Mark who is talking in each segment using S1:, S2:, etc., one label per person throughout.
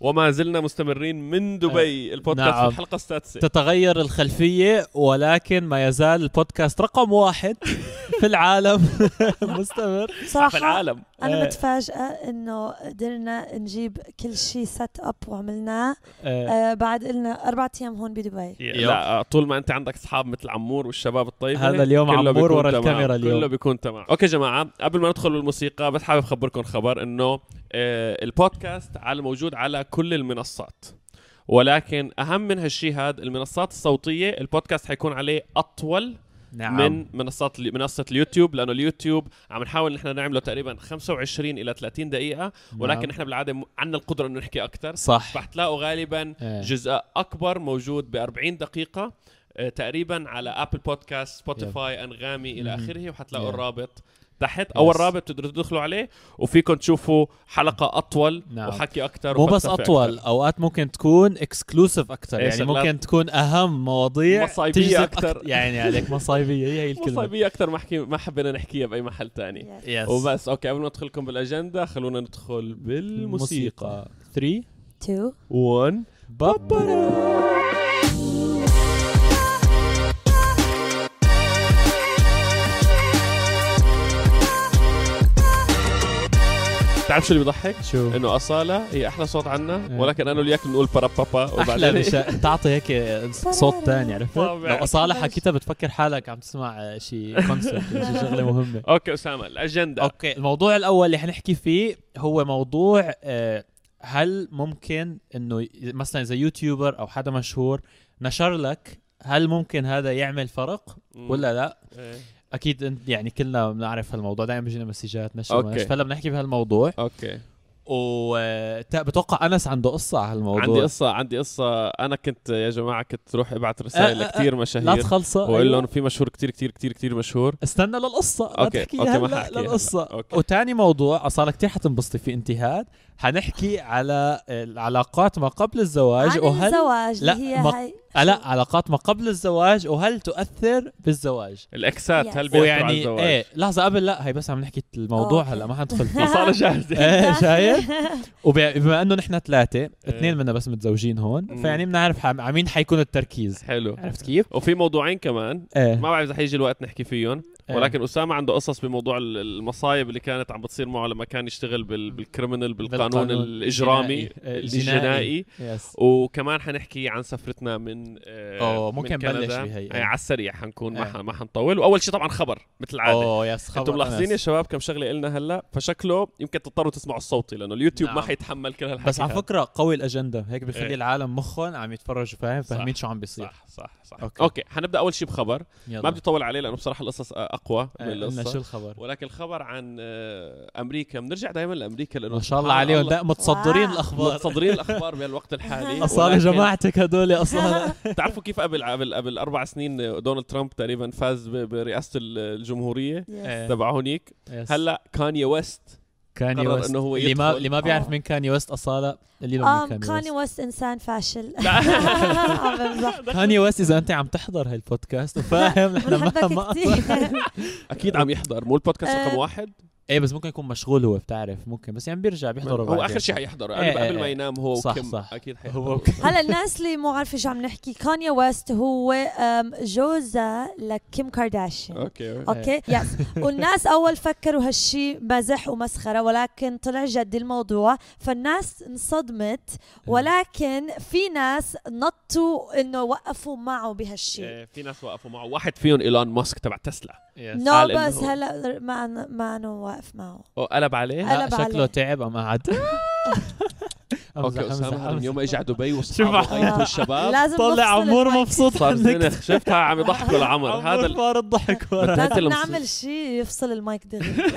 S1: وما زلنا مستمرين من دبي البودكاست
S2: نعم.
S1: نعم. الحلقه السادسه
S2: تتغير الخلفية ولكن ما يزال البودكاست رقم واحد في العالم مستمر
S1: في
S3: صراحه
S1: العالم
S2: آه.
S3: انا متفاجئه انه قدرنا نجيب كل شيء سيت اب وعملناه
S2: آه،
S3: آه بعد قلنا اربع ايام هون بدبي
S2: إيه.
S1: لا آه، طول ما انت عندك اصحاب مثل عمور والشباب الطيب
S2: هذا اليوم
S1: كله
S2: عمور
S1: بيكون
S2: ورا
S1: تمام. كله
S2: الكاميرا اليوم.
S1: بيكون تمام اوكي جماعه قبل ما ندخل بالموسيقى بس حابب اخبركم خبر انه آه، البودكاست على موجود على كل المنصات ولكن اهم من هالشيء هذا المنصات الصوتيه البودكاست حيكون عليه اطول
S2: نعم
S1: من منصات منصه اليوتيوب لانه اليوتيوب عم نحاول نحن نعمله تقريبا 25 الى 30 دقيقه ولكن
S2: نعم.
S1: نحن بالعاده م- عندنا القدره انه نحكي اكثر
S2: صح
S1: رح تلاقوا غالبا
S2: إيه.
S1: جزء اكبر موجود ب 40 دقيقه آه، تقريبا على ابل بودكاست سبوتيفاي انغامي الى
S2: إيه. مهم. إيه.
S1: اخره وحتلاقوا
S2: يب.
S1: الرابط تحت اول
S2: Yes.
S1: رابط تقدروا تدخلوا عليه وفيكم تشوفوا حلقه اطول
S2: نعم.
S1: وحكي اكثر
S2: مو بس اطول اوقات ممكن تكون اكسكلوسيف اكثر
S1: إيه،
S2: يعني
S1: شغلات-
S2: ممكن تكون اهم مواضيع
S1: مصايبية
S2: تجذب
S1: أكتر.
S2: أك- يعني عليك مصايبيه هي هي الكلمه
S1: مصايبية اكثر ما حكي ما حبينا نحكيها باي محل تاني
S3: Yes.
S2: يس
S1: وبس اوكي قبل ما ندخلكم بالاجنده خلونا ندخل بالموسيقى
S2: 3
S3: تو
S1: 1
S2: بابا
S1: بتعرف شو اللي بيضحك؟
S2: شو
S1: انه اصاله هي احلى صوت
S2: إيه.
S1: عنا ولكن انا وياك بنقول برا بابا
S2: احلى
S1: وبعدين
S2: مشا... تعطي هيك صوت تاني عرفت
S1: طبعاً.
S2: لو اصاله حكيتها بتفكر حالك عم تسمع شيء كونسرت شيء شغله مهمه
S1: اوكي اسامه الاجنده
S2: اوكي الموضوع الاول اللي حنحكي فيه هو موضوع آه، هل ممكن انه ي- مثلا اذا يوتيوبر او حدا مشهور نشر لك هل ممكن هذا يعمل فرق
S1: مم.
S2: ولا لا
S1: إيه.
S2: اكيد انت يعني كلنا بنعرف هالموضوع دائما بيجينا مسجات نشر
S1: أوكي.
S2: ما نشر. فهلا بنحكي بهالموضوع
S1: اوكي
S2: وبتوقع انس عنده قصه على هالموضوع
S1: عندي قصه عندي قصه انا كنت يا جماعه كنت روح ابعت رسائل
S2: آه، آه،
S1: لكثير
S2: لا
S1: مشاهير
S2: تخلصها
S1: واقول
S2: أيوة.
S1: لهم في مشهور كثير كثير كثير كثير مشهور
S2: استنى للقصة لا
S1: أوكي،
S2: تحكي
S1: أوكي، ما
S2: هلا
S1: ححكي هلا.
S2: للقصة
S1: أوكي.
S2: وتاني موضوع صار كتير حتنبسطي في انتهاد حنحكي على العلاقات ما قبل الزواج
S3: عن
S2: وهل
S3: الزواج
S2: لا،
S3: اللي هي
S2: ما-
S3: هاي
S2: آه، لا علاقات ما قبل الزواج وهل تؤثر بالزواج
S1: الاكسات
S3: Yes.
S1: هل بيأثروا على
S2: ويعني
S1: الزواج
S2: ايه لحظة قبل لا هي بس عم نحكي الموضوع
S3: أوكي.
S2: هلا ما حندخل فيه
S1: اصاله جاهزه
S2: ايه شايف وبما انه نحن ثلاثة اثنين
S1: إيه.
S2: منا بس متزوجين هون
S1: مم.
S2: فيعني بنعرف عم- على مين حيكون التركيز
S1: حلو
S2: عرفت كيف؟
S1: وفي موضوعين كمان
S2: ايه
S1: ما بعرف اذا حيجي الوقت نحكي فيهم
S2: إيه.
S1: ولكن اسامه عنده قصص بموضوع ال- المصايب اللي كانت عم بتصير معه لما كان يشتغل بال- بالكريمنال بالقانون
S2: بالقانون
S1: الاجرامي
S2: الجنائي. الجنائي.
S1: الجنائي
S2: يس
S1: وكمان حنحكي عن سفرتنا من آه،
S2: أوه،
S1: من
S2: ممكن
S1: كندا.
S2: نبلش بهي.
S1: آه، على السريع حنكون ما
S2: إيه.
S1: ح- ما حنطول واول شيء طبعا خبر مثل العاده
S2: اوه يس خبر
S1: انتم ملاحظين يا
S2: أنس.
S1: شباب كم شغله قلنا هلا فشكله يمكن تضطروا تسمعوا الصوتي لانه اليوتيوب ما
S2: نعم.
S1: حيتحمل كل هالحكي
S2: بس على
S1: هذا.
S2: فكره قوي الاجنده هيك بخلي
S1: إيه.
S2: ايه. العالم مخهم عم يتفرجوا فاهم
S1: صح،
S2: فاهمين شو عم بيصير
S1: صح صح صح
S2: أوكي.
S1: اوكي, أوكي. حنبدا اول شيء بخبر
S2: يلا.
S1: ما بدي اطول عليه لانه بصراحه القصص آه، اقوى من
S2: آه، قلنا شو
S1: القصه
S2: الخبر
S1: ولكن الخبر عن آه، امريكا بنرجع دائما لامريكا لانه
S2: ما شاء الله
S1: سبحان
S2: عليهم دائما متصدرين
S3: واو.
S2: الاخبار
S1: متصدرين الاخبار بهالوقت الحالي
S2: اصاله
S1: ولكن
S2: جماعتك هدول إيه. اصاله
S1: بتعرفوا كيف قبل قبل قبل اربع سنين دونالد ترامب تقريبا فاز ب- برئاسه ال- الجمهوريه
S2: إيه.
S3: Yes.
S1: تبع هونيك هلا كاني ويست
S2: كاني
S1: قرر
S2: ويست
S1: إنه هو
S2: اللي ما
S1: يدخل. آه،
S2: اللي ما بيعرف
S3: آه.
S2: مين كاني ويست اصاله اللي له
S3: ام
S2: مين كاني
S3: كاني
S2: ويست
S3: ويست انسان فاشل
S1: لا.
S3: عم بمزح.
S2: كاني ويست اذا انت عم تحضر هاي البودكاست وفاهم نحن ما
S3: بنحبك
S2: ما
S3: كثير
S1: اكيد عم يحضر مو البودكاست
S3: آه،
S1: رقم واحد
S2: ايه بس ممكن يكون مشغول هو بتعرف ممكن بس يعني بيرجع بيحضره
S1: هو
S2: بعدين.
S1: اخر شيء حيحضره
S2: إيه،
S1: قبل, قبل ما
S2: إيه.
S1: ينام هو
S2: صح،
S1: وكيم
S2: صح.
S1: اكيد
S2: هو
S1: حيحضره
S2: وكيم.
S3: هلا الناس اللي مو عارفه شو عم نحكي كانيا ويست هو أم، جوزها لكيم كارداشيان
S1: اوكي
S3: اوكي يس والناس اول فكروا هالشي مزح ومسخره ولكن طلع جدي الموضوع فالناس انصدمت ولكن في ناس نطوا انه وقفوا معه بهالشي
S1: آه، في ناس وقفوا معه واحد فيهم ايلون ماسك تبع تسلا
S2: يس.
S3: نو
S1: قال إنه
S3: بس
S1: هو-
S3: هلا ما ما انه واقف معه
S1: أو قلب عليه
S3: قلب
S2: لا شكله
S3: عليه.
S2: تعب ام قعد
S1: اوكي اسامه هذا من يوم ما اجى على دبي
S2: شوف
S1: واصحابه غيروا الشباب
S3: لازم
S2: طلع
S3: نفصل
S2: عمور
S3: المايك.
S2: مبسوط
S1: صار
S2: عنك
S1: زنخ شفتها عم يضحكوا العمر هذا ال-
S2: فار الضحك ورا
S1: هات
S3: لازم
S1: المس-
S3: نعمل شيء يفصل المايك دغري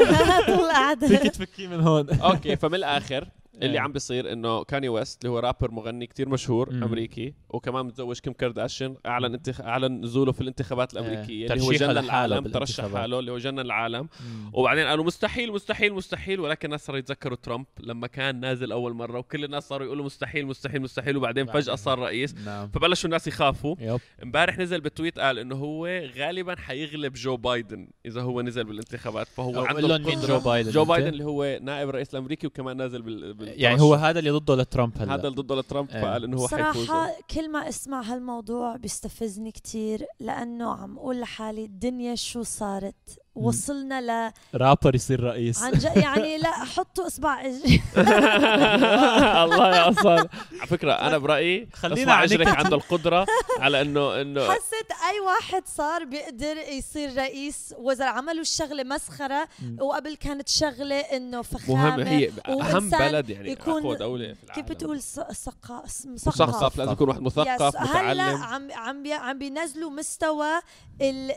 S3: طول قاعده
S2: فيك تفكيه من هون
S1: اوكي فمن الاخر
S2: إيه.
S1: اللي عم بيصير انه كاني ويست اللي هو رابر مغني كتير مشهور
S2: مم.
S1: امريكي وكمان متزوج كيم كارداشيان اعلن انتخ... اعلن نزوله في الانتخابات الامريكيه اللي هو
S2: ترشيحه
S1: جنن
S2: إيه، لحاله
S1: العالم
S2: بالانتخابات.
S1: ترشح حاله اللي هو جنن العالم وبعدين قالوا مستحيل مستحيل مستحيل ولكن الناس صاروا يتذكروا ترامب لما كان نازل اول مره وكل الناس صاروا يقولوا مستحيل مستحيل مستحيل وبعدين
S2: بعدين.
S1: فجاه صار رئيس
S2: نعم
S1: فبلشوا الناس يخافوا
S2: يب
S1: امبارح نزل بالتويت قال انه هو غالبا حيغلب جو بايدن اذا هو نزل بالانتخابات فهو عنده
S2: قول لهم مين
S1: القدرة-
S2: جو بايدن
S1: جو بايدن
S2: أنت؟
S1: اللي هو نائب الرئيس الامريكي وكمان نازل بال...
S2: يعني هو هذا اللي ضده لترامب هلا
S1: هذا اللي ضده لترامب
S2: إيه.
S1: فقال انه هو حيفوز
S3: صراحة كل ما اسمع هالموضوع بيستفزني كتير لأنه عم أقول لحالي الدنيا شو صارت وصلنا ل
S2: رابر يصير رئيس
S3: عن جد يعني لا حطوا اصبع إج-
S1: الله يا اصلا على فكره انا برايي
S2: خلينا
S1: خلينا
S2: عليك
S1: اجرك عنده القدره على انه انه
S3: حست اي واحد صار بيقدر يصير رئيس وزراء عملوا الشغله مسخره
S2: مم.
S3: وقبل كانت شغله انه فخامه
S1: مهم هي اهم
S3: وإنسان
S1: بلد يعني
S3: يكون-
S1: اقوى دوله في العالم
S3: كيف بتقول ثقافه مثقف
S1: مثقف لازم يكون واحد مثقف
S3: يس، هلا
S1: متعلم
S3: عم عم بي- عم بينزلوا مستوى ال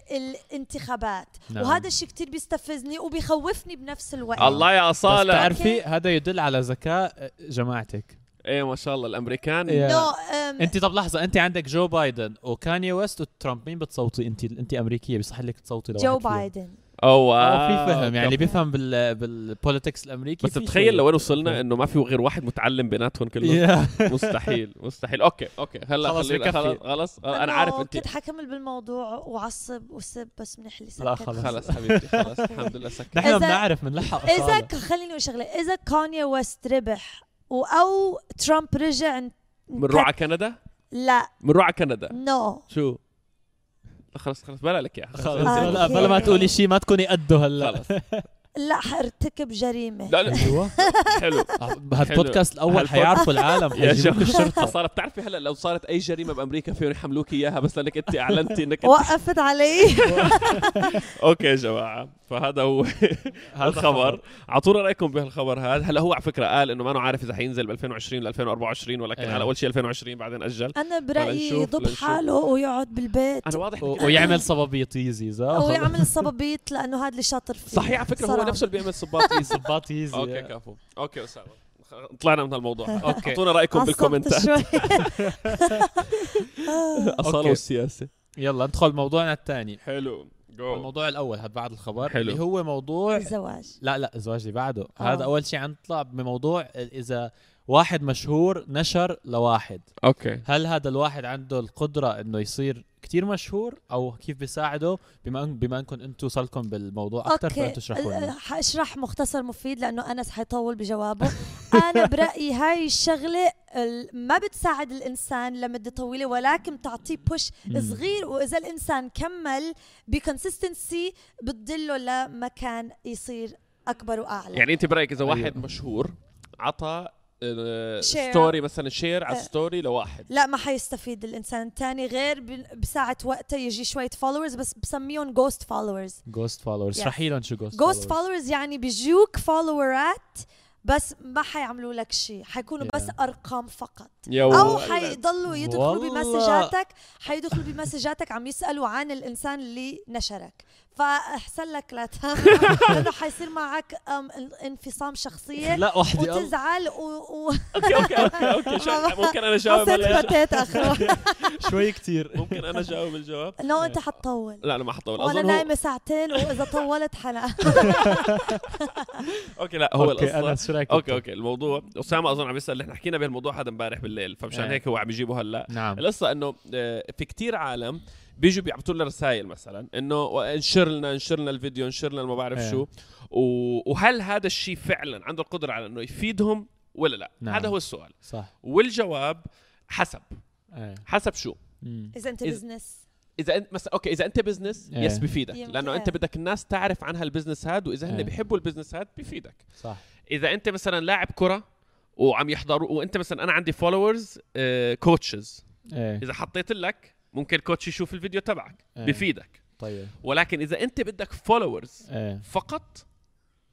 S3: الانتخابات
S2: نعم.
S3: وهذا الشيء كتير بيستفزني وبيخوفني بنفس الوقت
S1: الله يا
S2: بس
S1: اصاله
S2: تعرفي هذا يدل على ذكاء آه، جماعتك
S1: ايه ما شاء الله الامريكان
S2: إيه.
S3: نو أم،
S2: انت طب لحظه انت عندك جو بايدن وكاني ويست وترامب مين بتصوتي انت انت امريكيه بيصح لك تصوتي لواحد
S3: جو
S2: فيهم.
S3: بايدن
S1: او
S2: اه في فهم يعني اللي بيفهم بال بالبوليتكس الامريكي
S1: آه، بس
S2: في
S1: تتخيل
S2: شوي.
S1: لوين وصلنا انه ما في غير واحد متعلم بيناتهم كلهم
S2: يا.
S1: مستحيل مستحيل اوكي اوكي هلا
S2: خلص،
S1: خلينا-
S2: بكفي.
S1: خلص خلص انا عارف انت
S3: كنت حكمل بالموضوع وعصب وسب بس منيح لي
S2: لا،
S3: سكت.
S2: خلص.
S1: خلص حبيبتي خلص الحمد لله سكت
S2: نحن
S3: إذا-
S2: بنعرف بنلحق
S3: اذا
S2: أصالة.
S3: ك- خليني اقول شغله اذا كانيا ويست ربح و- او ترامب رجع ان-
S1: بنروح على كندا
S3: لا
S1: بنروح على كندا
S3: نو
S1: شو خلص خلص بلا لك يا
S2: خلص
S3: آه،
S2: لا
S3: أوكي.
S2: بلا ما تقولي شيء ما تكوني قده هلا
S1: خلص
S3: لا حارتكب جريمه
S1: لا لا
S2: ايوه
S1: حلو
S2: هالبودكاست الاول
S1: هالبود-
S2: حيعرفوا العالم
S1: يا
S2: حيجيبوك
S1: شباب
S2: الشرطه
S1: صار بتعرفي هلا لو صارت اي جريمه بامريكا فيهم يحملوك اياها بس لانك انت اعلنتي انك أنت-
S3: وقفت علي
S1: اوكي يا جماعه فهذا هو الخبر اعطونا رايكم بهالخبر هذا هلا هو على فكره قال انه ما أنا عارف اذا حينزل ب 2020 ل 2024 ولكن
S2: إيه.
S1: على اول شيء 2020 بعدين اجل
S3: انا برايي
S1: فلنشوف-
S3: يضب
S1: لنشوف.
S3: حاله ويقعد بالبيت
S1: انا واضح
S2: و- ويعمل صبابيط يزيز آه،
S3: او
S2: خلص.
S3: يعمل الصبابيط لانه هذا اللي شاطر فيه
S1: صحيح على فكره هو
S3: صراحة.
S1: نفسه اللي بيعمل صباط يزي.
S2: صباط يزي
S1: اوكي
S2: آه.
S1: كفو اوكي اسامه خ- طلعنا من هالموضوع
S2: أوكي.
S1: اعطونا رايكم
S3: عصبت
S1: بالكومنتات
S3: شوي.
S1: اصاله
S2: أوكي.
S1: والسياسه
S2: يلا ندخل موضوعنا الثاني
S1: حلو جو
S2: الموضوع الاول هاد بعد الخبر
S1: حلو.
S2: اللي هو موضوع
S3: الزواج
S2: لا لا زواجي بعده
S3: آه.
S2: هذا اول شيء عنطلع بموضوع ال- اذا واحد مشهور نشر لواحد
S1: اوكي
S2: هل هذا الواحد عنده القدره انه يصير كتير مشهور او كيف بيساعده بما أن بما انكم انتم وصلكم بالموضوع اكثر
S3: اوكي
S2: فانتم تشرحوا لنا
S3: أه، حاشرح مختصر مفيد لانه انس حيطول بجوابه انا برايي هاي الشغله ال- ما بتساعد الانسان لمده طويله ولكن بتعطيه بوش
S2: مم.
S3: صغير واذا الانسان كمل بكونسستنسي بتدله لمكان يصير اكبر واعلى
S1: يعني انت برايك اذا واحد
S2: أيوة.
S1: مشهور عطى آه،
S3: شير.
S1: ستوري مثلا شير على
S3: آه.
S1: ستوري لواحد
S3: لا ما حيستفيد الانسان الثاني غير ب- بساعه وقته يجي شويه فولورز بس بسميهم جوست فولورز
S2: جوست فولورز
S3: Yes.
S2: اشرحي لهم شو جوست
S3: جوست فولورز يعني بيجوك فولورات بس ما حيعملوا لك شيء حيكونوا
S2: Yeah.
S3: بس ارقام فقط
S1: يا
S3: او
S1: ولد.
S3: حيضلوا يدخلوا
S2: والله.
S3: بمسجاتك حيدخلوا بمسجاتك عم يسالوا عن الانسان اللي نشرك فاحسن لك لا تعمل، لانه حيصير معك أم، ان- انفصام شخصيه
S2: لا وحده يلا.
S3: وتزعل و, و...
S1: اوكي اوكي اوكي, أوكي. شو- ممكن انا اجاوب
S3: حسيت
S1: ولا-
S3: فتيت اخر
S2: شوي كتير
S1: ممكن انا اجاوب الجواب
S3: لو انت حتطول
S1: لا انا ما حطول
S3: وانا
S1: اظن هو
S3: نايمه ساعتين واذا طولت حلقه
S1: اوكي لا هو
S2: اوكي
S1: القصه
S2: انس شو رايك
S1: اوكي
S2: أنت؟
S1: اوكي الموضوع اسامه اظن عم يسال نحن حكينا بهالموضوع هذا امبارح بالليل فمشان
S2: إيه.
S1: هيك هو عم يجيبه هلا
S2: نعم
S1: القصه انه آه، في كتير عالم بيجوا بيبعثوا لنا رسائل مثلا انه انشر لنا انشر لنا الفيديو انشر لنا ما بعرف
S2: إيه.
S1: شو و- وهل هذا الشيء فعلا عنده القدره على انه يفيدهم ولا لا
S2: نعم.
S1: هذا هو السؤال
S2: صح
S1: والجواب حسب
S2: ايه
S1: حسب شو
S2: مم.
S3: اذا انت
S1: إذا-
S3: بزنس
S1: اذا انت مثلا اوكي اذا انت بزنس
S2: إيه.
S1: يس بفيدك
S3: يمكن.
S1: لانه انت بدك الناس تعرف عن هالبزنس هاد واذا
S2: إيه.
S1: هن بيحبوا البزنس هاد بفيدك
S2: صح
S1: اذا انت مثلا لاعب كره وعم يحضروا وانت مثلا انا عندي فولورز كوتشز
S2: ايه
S1: اذا حطيت لك ممكن الكوتش يشوف الفيديو تبعك
S2: إيه.
S1: بفيدك
S2: طيب
S1: ولكن اذا انت بدك فولورز
S2: ايه
S1: فقط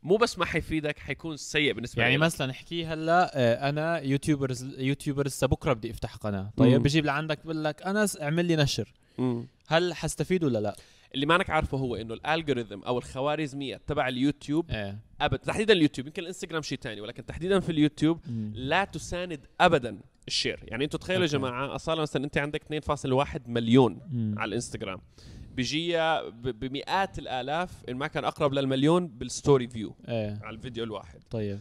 S1: مو بس ما حيفيدك حيكون سيء بالنسبه
S2: يعني
S1: لك.
S2: مثلا احكي هلا آه، انا يوتيوبرز يوتيوبر لسه بكره بدي افتح قناه طيب
S1: مم.
S2: بجيب لعندك بقول لك انس اعمل لي نشر
S1: مم.
S2: هل حستفيد ولا لا
S1: اللي ما انك عارفه هو انه الالجوريثم او الخوارزميه تبع اليوتيوب
S2: ايه
S1: ابد تحديدا اليوتيوب يمكن الانستغرام شيء تاني ولكن تحديدا في اليوتيوب
S2: مم.
S1: لا تساند ابدا الشير يعني انتم تخيلوا يا
S2: أوكي.
S1: جماعه اصلا مثلا انت عندك 2.1 مليون
S2: مم.
S1: على الانستغرام بيجيها ب- بمئات الالاف ان ما كان اقرب للمليون بالستوري فيو
S2: ايه
S1: على الفيديو الواحد
S2: طيب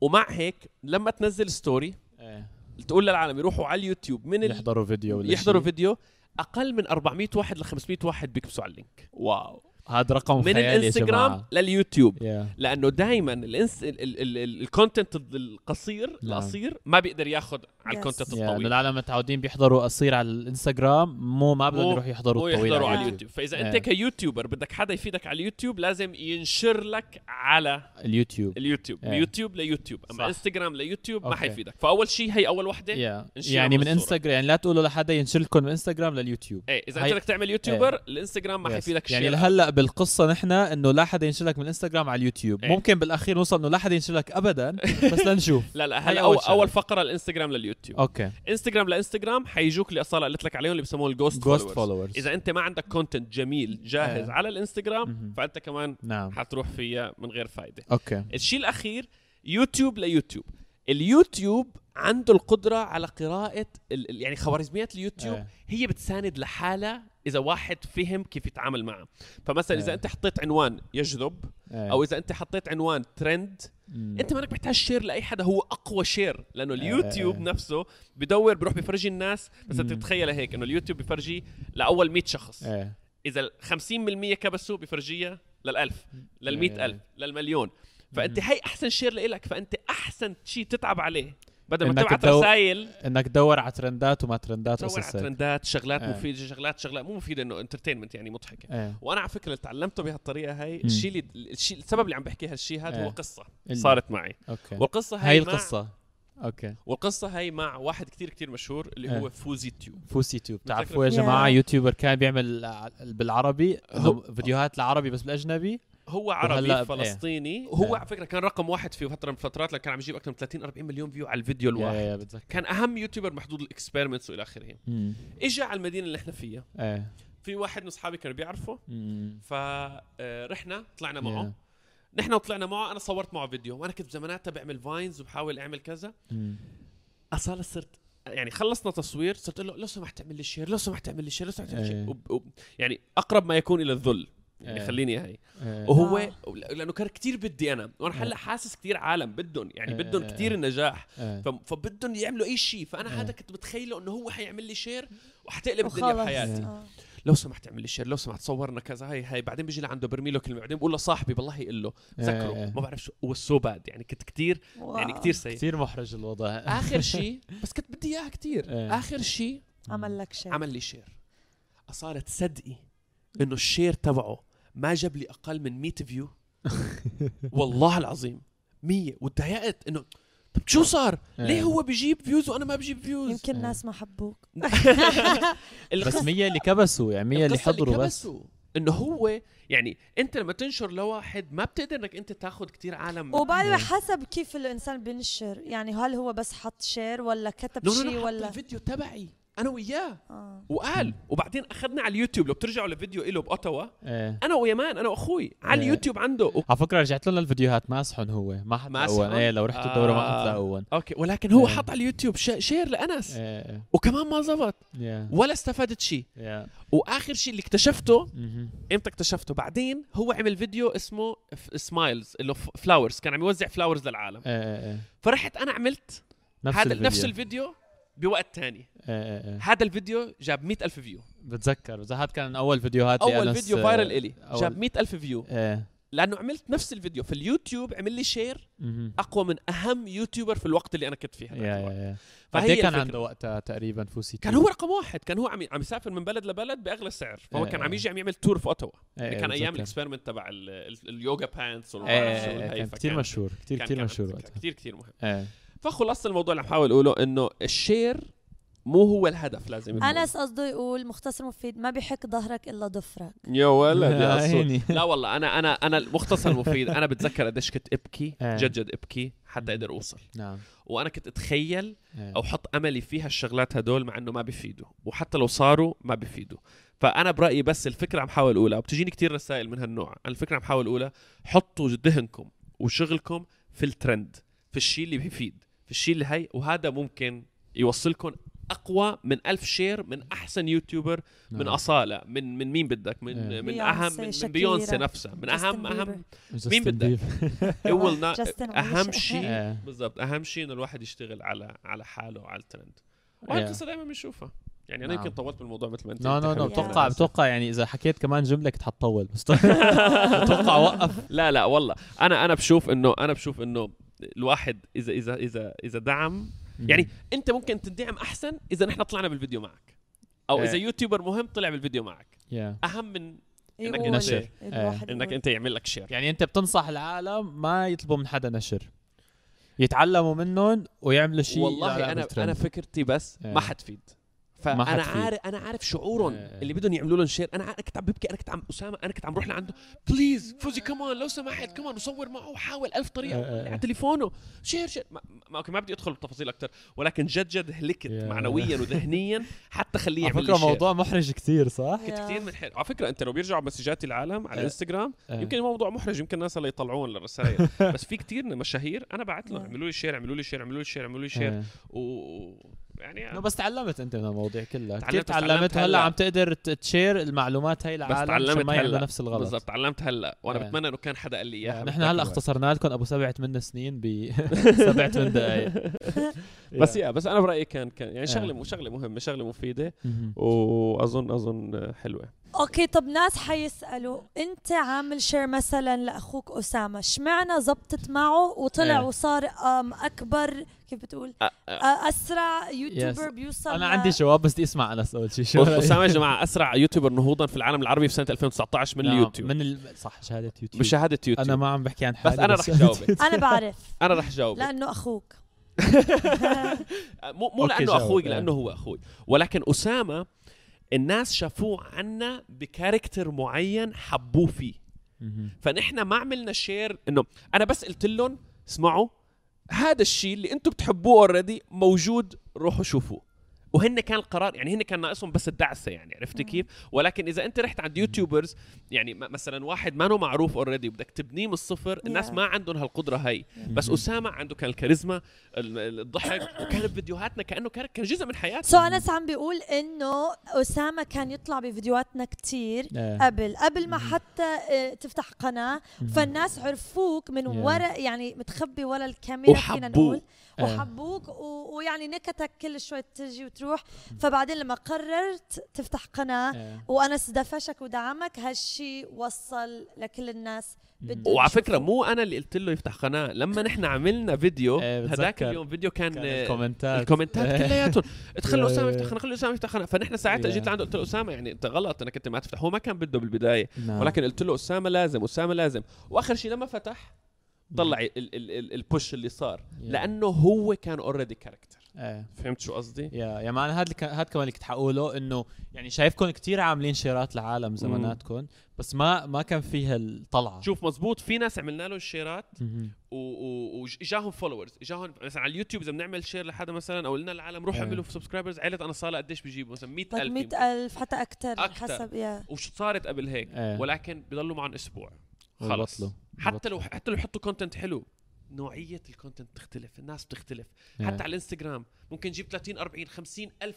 S1: ومع هيك لما تنزل ستوري
S2: ايه
S1: تقول للعالم يروحوا على اليوتيوب من ال...
S2: يحضروا فيديو ولا
S1: يحضروا
S2: شيء.
S1: فيديو اقل من 400 واحد ل 500 واحد بيكبسوا على اللينك
S2: واو هذا رقم
S1: من
S2: خيالي يا
S1: الانستغرام
S2: جماعة.
S1: لليوتيوب
S2: Yeah.
S1: لانه دائما الانس ال- ال- ال- الكونتنت القصير
S2: نعم.
S1: القصير ما بيقدر ياخذ على
S3: Yes.
S1: الكونتنت
S2: Yeah, لأنه
S1: الطويل
S2: العالم متعودين بيحضروا قصير على الانستغرام مو ما بدهم
S1: مو-
S2: يروحوا يحضروا
S1: هو
S2: الطويل
S1: يحضروا
S3: على
S1: على اليوتيوب
S3: اليوتيوب.
S1: فاذا
S2: إيه.
S1: انت كيوتيوبر بدك حدا يفيدك على اليوتيوب لازم ينشر لك على
S2: اليوتيوب
S1: اليوتيوب
S2: إيه.
S1: من يوتيوب ليوتيوب
S2: صح.
S1: اما انستغرام ليوتيوب ما
S2: أوكي.
S1: حيفيدك فاول شيء هي اول وحده
S2: yeah.
S1: انشرها
S2: يعني
S1: من
S2: من
S1: الصورة.
S2: انستغرام يعني لا تقولوا لحدا ينشر لكم من انستغرام لليوتيوب
S1: ايه اذا
S2: هي-
S1: انت بدك تعمل يوتيوبر الانستغرام ما
S2: آه. Yes.
S1: حيفيدك شيء
S2: يعني لهلا بالقصه نحن انه لا حدا ينشر لك من انستغرام على اليوتيوب
S1: إيه.
S2: ممكن بالاخير نوصل انه لا حدا ينشر لك ابدا بس لنشوف
S1: لا لا
S2: هي
S1: هلا
S2: أول
S1: اول,
S2: شغلة.
S1: أول فقره الانستغرام لليوتيوب
S2: اوكي
S1: انستغرام لانستغرام حيجوك اللي اصلا قلت لك عليهم اللي بيسموه الجوست
S2: جوست
S1: فولورز
S2: فولورز
S1: اذا انت ما عندك كونتنت جميل جاهز
S2: إيه.
S1: على الانستغرام
S2: مهم.
S1: فانت كمان
S2: نعم
S1: حتروح فيها من غير فائده
S2: اوكي
S1: الشيء الاخير يوتيوب ليوتيوب اليوتيوب عنده القدره على قراءه ال- ال- يعني خوارزميات اليوتيوب
S2: إيه.
S1: هي بتساند لحالها اذا واحد فهم كيف يتعامل معها فمثلا اذا
S2: إيه.
S1: انت حطيت عنوان يجذب
S2: آه.
S1: او اذا انت حطيت عنوان ترند انت مانك محتاج شير لاي حدا هو اقوى شير لانه اليوتيوب
S2: آه.
S1: نفسه بدور بروح بفرجي الناس بس انت
S2: مم.
S1: تتخيل هيك انه اليوتيوب بفرجي لاول 100 شخص
S2: ايه
S1: اذا ال 50% كبسوا بفرجيها لل1000 لل
S2: آه.
S1: ألف للمليون فانت هي احسن شير لإلك فانت احسن شيء تتعب عليه بدل ما
S2: إنك
S1: تبعت
S2: تدو-
S1: رسائل
S2: انك تدور على ترندات وما ترندات
S1: تدور على
S2: وقصص هيك.
S1: ترندات شغلات
S2: آه.
S1: مفيده شغلات شغلات مو مفيده انه انترتينمنت يعني مضحكه
S2: ايه
S1: وانا على فكره اللي تعلمته بهالطريقه هي
S2: مم.
S1: الشيء اللي الشيء السبب اللي عم بحكي هالشيء هذا هو
S2: آه.
S1: قصه
S2: ال-
S1: صارت معي
S2: اوكي
S1: والقصه هي,
S2: هاي
S1: مع-
S2: القصه اوكي
S1: والقصه هي مع واحد كتير كتير مشهور اللي هو
S2: إيه.
S1: فوزي تيوب
S2: فوس يوتيوب تعرفوا يا
S1: متذكر-
S2: جماعه
S3: Yeah.
S2: يوتيوبر كان بيعمل ع- بالعربي
S1: هو-
S2: فيديوهات العربي بس بالاجنبي
S1: هو عربي
S2: وهلا ب-
S1: وهلا فلسطيني هو
S2: إيه.
S1: على فكره كان رقم واحد في فتره من الفترات لما كان عم يجيب اكثر من 30 40 مليون فيو على الفيديو
S2: يا-
S1: الواحد
S2: يا بتذكر
S1: كان اهم يوتيوبر محدود الاكسبيرمنتس والى اخره
S2: مم.
S1: اجى على المدينه اللي احنا فيها
S2: ايه
S1: في واحد من اصحابي كان بيعرفه
S2: مم.
S1: فرحنا طلعنا معه
S2: Yeah.
S1: نحن وطلعنا معه انا صورت معه فيديو وانا كنت بزماناتها بعمل فاينز وبحاول اعمل كذا
S2: مم.
S1: اصلا صرت يعني خلصنا تصوير صرت اقول له لو سمحت اعمل لي شير لو سمحت اعمل لي شير لو سمحت اعمل لي شير
S2: إيه.
S1: وب- وب- يعني اقرب ما يكون الى الذل يعني
S2: إيه.
S1: خليني هي
S2: إيه.
S1: وهو
S3: آه.
S1: لانه كان كتير بدي انا وانا هلا حاسس كتير عالم بدهم يعني
S2: آه،
S1: بدهم
S2: آه، آه.
S1: كتير النجاح
S2: إيه.
S1: ف- فبدهم يعملوا اي شيء فانا
S2: آه.
S1: هذا كنت متخيله انه هو حيعمل لي شير وحتقلب طيب الدنيا
S3: وخلص
S1: بحياتي
S3: آه.
S1: لو سمحت اعمل لي شير لو سمحت صورنا كذا هاي هاي بعدين بيجي لعنده برمي له كلمه بعدين بقول لصاحبي بالله يقول له ذكره
S2: آه.
S1: ما بعرف شو هو سو باد يعني كنت كتير يعني
S3: واو.
S1: كتير سيء
S2: كثير محرج الوضع
S1: اخر شيء بس كنت بدي اياها كتير
S2: آه.
S1: اخر شيء
S3: عمل لك شيء
S1: عمل لي شير صارت صدقي انه الشير تبعه ما جاب لي اقل من 100 فيو والله العظيم 100 وتضايقت انه طب شو صار؟ ليه هو بجيب فيوز وانا ما بجيب فيوز؟
S3: يمكن الناس ما حبوك
S2: بس مية اللي كبسوا يعني مية اللي حضروا بس
S1: انه هو يعني انت لما تنشر لواحد ما بتقدر انك انت تاخذ كتير عالم من
S3: وبعد
S2: إيه.
S3: حسب كيف الانسان بينشر يعني هل هو بس حط شير ولا كتب
S1: نو نو
S3: شيء
S1: نو حط
S3: ولا
S1: الفيديو تبعي انا وياه
S3: آه.
S1: وقال وبعدين اخذنا على اليوتيوب لو بترجعوا لفيديو له باوتاوا
S2: ايه
S1: انا ويمان انا واخوي على
S2: إيه.
S1: اليوتيوب عنده
S2: على فكره رجعت لهم للفيديوهات ما اسحن هو ما
S1: ما
S2: حتلاقون
S1: أسحن؟
S2: ايه لو رحتوا تدوروا ما
S1: آه.
S2: حتلاقون
S1: اوكي ولكن هو
S2: إيه.
S1: حط على اليوتيوب ش- شير لانس
S2: ايه ايه
S1: وكمان ما زبط
S2: إيه، يا
S1: ولا استفادت شيء
S2: يا
S1: واخر شيء اللي اكتشفته
S2: مهم.
S1: امتى اكتشفته بعدين هو عمل فيديو اسمه سمايلز اللي فلاورز كان عم يوزع فلاورز للعالم
S2: ايه ايه ايه
S1: فرحت انا عملت
S2: نفس
S1: هذا
S2: الفيديو.
S1: نفس الفيديو بوقت تاني
S2: ايه ايه ايه
S1: هذا الفيديو جاب مئة ألف فيو
S2: بتذكر بس هاد كان اول فيديوهات
S1: أول فيديو فايرل إلي
S2: أول-
S1: جاب مئة ألف فيو
S2: ايه
S1: لأنه عملت نفس الفيديو فاليوتيوب عمل لي شير
S2: مهم.
S1: أقوى من أهم يوتيوبر في الوقت اللي أنا كنت فيه
S2: يا
S1: هذاك
S2: يا
S1: الوقت.
S2: يا
S1: فهي
S2: فهي كان
S1: الفكرة.
S2: عنده وقتها تقريبا فوسي
S1: كان هو رقم واحد كان هو عم عم يسافر من بلد لبلد باغلى سعر فهو
S2: إيه.
S1: كان عم يجي عم يعمل تور في اوتاوا يعني كان ايام
S2: الاكسبيرمنت
S1: الاكسبيرمنت تبع ال- ال- اليوغا بانتس والما بعرف شو
S2: ايه
S1: والهي،
S2: كان كثير
S1: فكان-
S2: مشهور كثير
S1: كان-
S2: كثير
S1: كان
S2: مشهور
S1: كان
S2: وقتها
S1: كثير كثير مهم
S2: ايه
S1: فخلاصة الموضوع اللي عم بحاول اقوله انه الشير مو هو الهدف لازم يكون
S3: انس قصده يقول مختصر مفيد ما بيحك ظهرك الا ضفرك
S1: يا ولد
S2: يا
S1: يا
S2: عيني.
S1: أسود. لا والله انا انا انا المختصر المفيد انا بتذكر قديش كنت ابكي
S2: إيه.
S1: جد جد ابكي حتى اقدر اوصل
S2: نعم
S1: وانا كنت اتخيل
S2: إيه.
S1: او احط املي فيها الشغلات هدول مع انه ما بيفيدوا وحتى لو صاروا ما بيفيدوا فانا برايي بس الفكره عم حاول اقولها وبتجيني كتير رسائل من هالنوع انا الفكره عم حاول اقولها حطوا ذهنكم وشغلكم في الترند في الشيء اللي بيفيد في الشيء اللي هي وهذا ممكن يوصلكم اقوى من ألف شير من احسن يوتيوبر من
S2: نعم.
S1: اصاله من من مين بدك من
S2: إيه.
S1: من
S3: بيونسي،
S1: اهم من- من
S3: شاكيرا،
S1: بيونسي نفسها من اهم
S3: جاستن
S1: اهم
S3: بيبر.
S2: جاستن
S1: بدك؟
S2: بيبر.
S1: it will not-
S3: جاستن ولا
S1: اهم
S3: شيء.
S1: شيء
S2: إيه.
S1: بالضبط اهم شيء انه الواحد يشتغل على على حاله وعلى الترند
S2: Yeah.
S1: وهالقصه دائما بنشوفها يعني انا
S2: إيه. نعم.
S1: يمكن طولت بالموضوع مثل ما انت
S2: نو نو نو
S1: حكيت.
S3: Yeah.
S2: بتوقع بتوقع يعني اذا حكيت كمان جمله كنت حتطول بس بتوقع وقف
S1: لا لا والله انا انا بشوف انه انا بشوف انه الواحد اذا اذا اذا اذا دعم يعني انت ممكن تدعم احسن اذا نحن طلعنا بالفيديو معك او
S2: إيه.
S1: اذا يوتيوبر مهم طلع بالفيديو معك
S2: Yeah.
S1: اهم من إنك
S3: يقول
S1: نشر.
S3: الواحد
S1: انك
S3: يقول.
S1: انت يعمل لك شير
S2: يعني انت بتنصح العالم ما يطلبوا من حدا نشر يتعلموا منهم ويعملوا شيء
S1: والله انا انا فكرتي بس
S2: إيه.
S1: ما حتفيد
S2: ما
S1: فانا
S2: حتفيد.
S1: عارف انا عارف شعورهم
S2: إيه.
S1: اللي بدهم يعملوا لهم شير انا عارف- كنت عم ببكي انا كنت عم اسامه انا كنت عم بروح لعنده بليز فوزي كمان لو سمحت كمان وصور معه وحاول ألف طريقه
S2: إيه، إيه، إيه.
S1: على تليفونه شير شير ما, ما اوكي ما بدي ادخل بتفاصيل اكثر ولكن جد جد هلكت
S2: يا.
S1: معنويا وذهنيا حتى خليه
S2: على
S1: يعمل
S2: فكره
S1: لي شير
S2: موضوع محرج كثير صح؟
S1: كنت
S3: يا.
S1: كثير من حلو على فكره انت لو بيرجعوا مسجاتي العالم على
S2: إيه.
S1: الانستغرام
S2: إيه.
S1: يمكن الموضوع محرج يمكن الناس هلا يطلعون للرسائل بس في كثير مشاهير انا بعت لهم
S3: إيه.
S1: اعملوا لي شير اعملوا لي شير اعملوا لي شير اعملوا لي شير
S2: إيه.
S1: و يعني
S2: انه بس تعلمت انت من المواضيع كلها
S1: تعلمت
S2: كثير
S1: بس تعلمت
S2: تعلمت هلا
S1: هلا.
S2: عم تقدر ت- تشير المعلومات هاي
S1: بس
S2: للعالم عشان
S1: تعلمت
S2: ما يعملوا
S1: هلا
S2: نفس الغلط
S1: بالضبط تعلمت هلا وانا
S2: إيه.
S1: بتمنى انه كان حدا قال لي اياها
S2: نحن هلا اختصرنا لكم ابو سبعة من سنين ب سبعة من دقائق
S1: بس يا بس انا برايي كان كان يعني
S2: إيه.
S1: شغله مو شغله مهمه شغله مفيده
S2: مهم.
S1: واظن اظن حلوه
S3: اوكي طب ناس حيسالوا انت عامل شير مثلا لاخوك اسامه اشمعنى زبطت معه وطلع
S2: إيه.
S3: وصار أم، اكبر كيف بتقول
S1: أ- أ-
S3: أ- اسرع يوتيوبر بيوصل
S2: انا
S3: ل-
S2: عندي جواب بس بدي اسمع انس اول شيء شو رأيك؟
S1: اسامه يا جماعه اسرع يوتيوبر نهوضا في العالم العربي في سنه 2019 من
S2: نعم،
S1: اليوتيوب
S2: من ال... صح شهاده يوتيوب
S1: بشهاده يوتيوب
S2: انا ما عم بحكي عن حالي
S1: أنا رح
S2: شهادة
S1: جاوبك.
S2: يوتيوب.
S3: انا بعرف
S1: انا رح جاوبك
S3: لانه اخوك
S1: مو مو
S2: أوكي،
S1: لانه
S2: جاوب،
S1: اخوي
S2: إيه.
S1: لانه هو اخوي ولكن اسامه الناس شافوه عنا بكاركتر معين حبوه فيه
S2: مهم.
S1: فنحن ما عملنا شير انه انا بس قلت لهم اسمعوا هذا الشيء اللي انتم بتحبوه اوريدي موجود روحوا شوفوه وهن كان القرار يعني هن كان ناقصهم بس الدعسه يعني عرفتي كيف؟ ولكن اذا انت رحت عند يوتيوبرز يعني م- مثلا واحد ما معروف اوريدي وبدك تبنيه من الصفر الناس
S3: Yeah.
S1: ما عندهم هالقدره هي بس اسامه عنده كان الكاريزما ال- ال- الضحك وكان بفيديوهاتنا كانه كان كان جزء من حياته
S3: سو انس عم بيقول انه اسامه كان يطلع بفيديوهاتنا كتير
S2: إيه.
S3: قبل قبل ما حتى آه، تفتح قناه فالناس عرفوك من
S2: Yeah.
S3: ورا يعني متخبي ورا الكاميرا فينا نقول
S1: وحبوه.
S2: آه.
S3: وحبوك و- ويعني نكتك كل شوي تجي وتروح فبعدين لما قررت تفتح قناه
S2: إيه.
S3: وانس دفشك ودعمك هالشي وصل لكل الناس بدهم
S1: وعلى فكره مو انا اللي قلت له يفتح قناه لما نحن عملنا فيديو
S2: إيه،
S1: هذاك
S2: بتذكر.
S1: اليوم فيديو كان
S2: كان
S1: آه،
S2: الكومنتات إيه.
S1: الكومنتات كلياتهم
S2: يا-
S1: خلوا اسامه
S2: يا-
S1: يفتح خلوا خلوا اسامه يفتح خلنا فنحن ساعتها
S2: يا.
S1: جيت لعنده قلت له اسامه يعني انت غلط انك انت ما تفتح هو ما كان بده بالبدايه
S2: نعم.
S1: ولكن قلت له اسامه لازم اسامه لازم واخر شيء لما فتح طلع ال- ال- ال- البوش اللي صار
S2: يا.
S1: لانه هو كان اوريدي كاركتر
S2: إيه.
S1: فهمت شو قصدي؟
S2: يا يا ما انا هاد اللي كان- هاد كمان اللي كنت حقوله انه يعني شايفكم كتير عاملين شيرات لعالم زماناتكم بس ما ما كان فيها الطلعه
S1: شوف مزبوط في ناس عملنا لهم شيرات
S2: مهم.
S1: واجاهم فولورز اجاهم مثلا على اليوتيوب اذا بنعمل شير لحدا مثلا او قلنا للعالم روحوا
S2: إيه.
S1: اعملوا سبسكرايبرز عيله انا صاله قديش بيجيبوا مثلا 100000
S3: طيب
S1: يمكن.
S3: 100000 حتى اكثر
S1: أكتر.
S3: حسب يا
S1: وش صارت قبل هيك
S2: إيه.
S1: ولكن بضلوا معهم اسبوع خلص
S2: وبطلوا.
S1: حتى لو حتى لو يحطوا كونتنت حلو نوعيه الكونتنت بتختلف الناس بتختلف
S2: إيه.
S1: حتى على الانستغرام ممكن نجيب 30 40 50 الف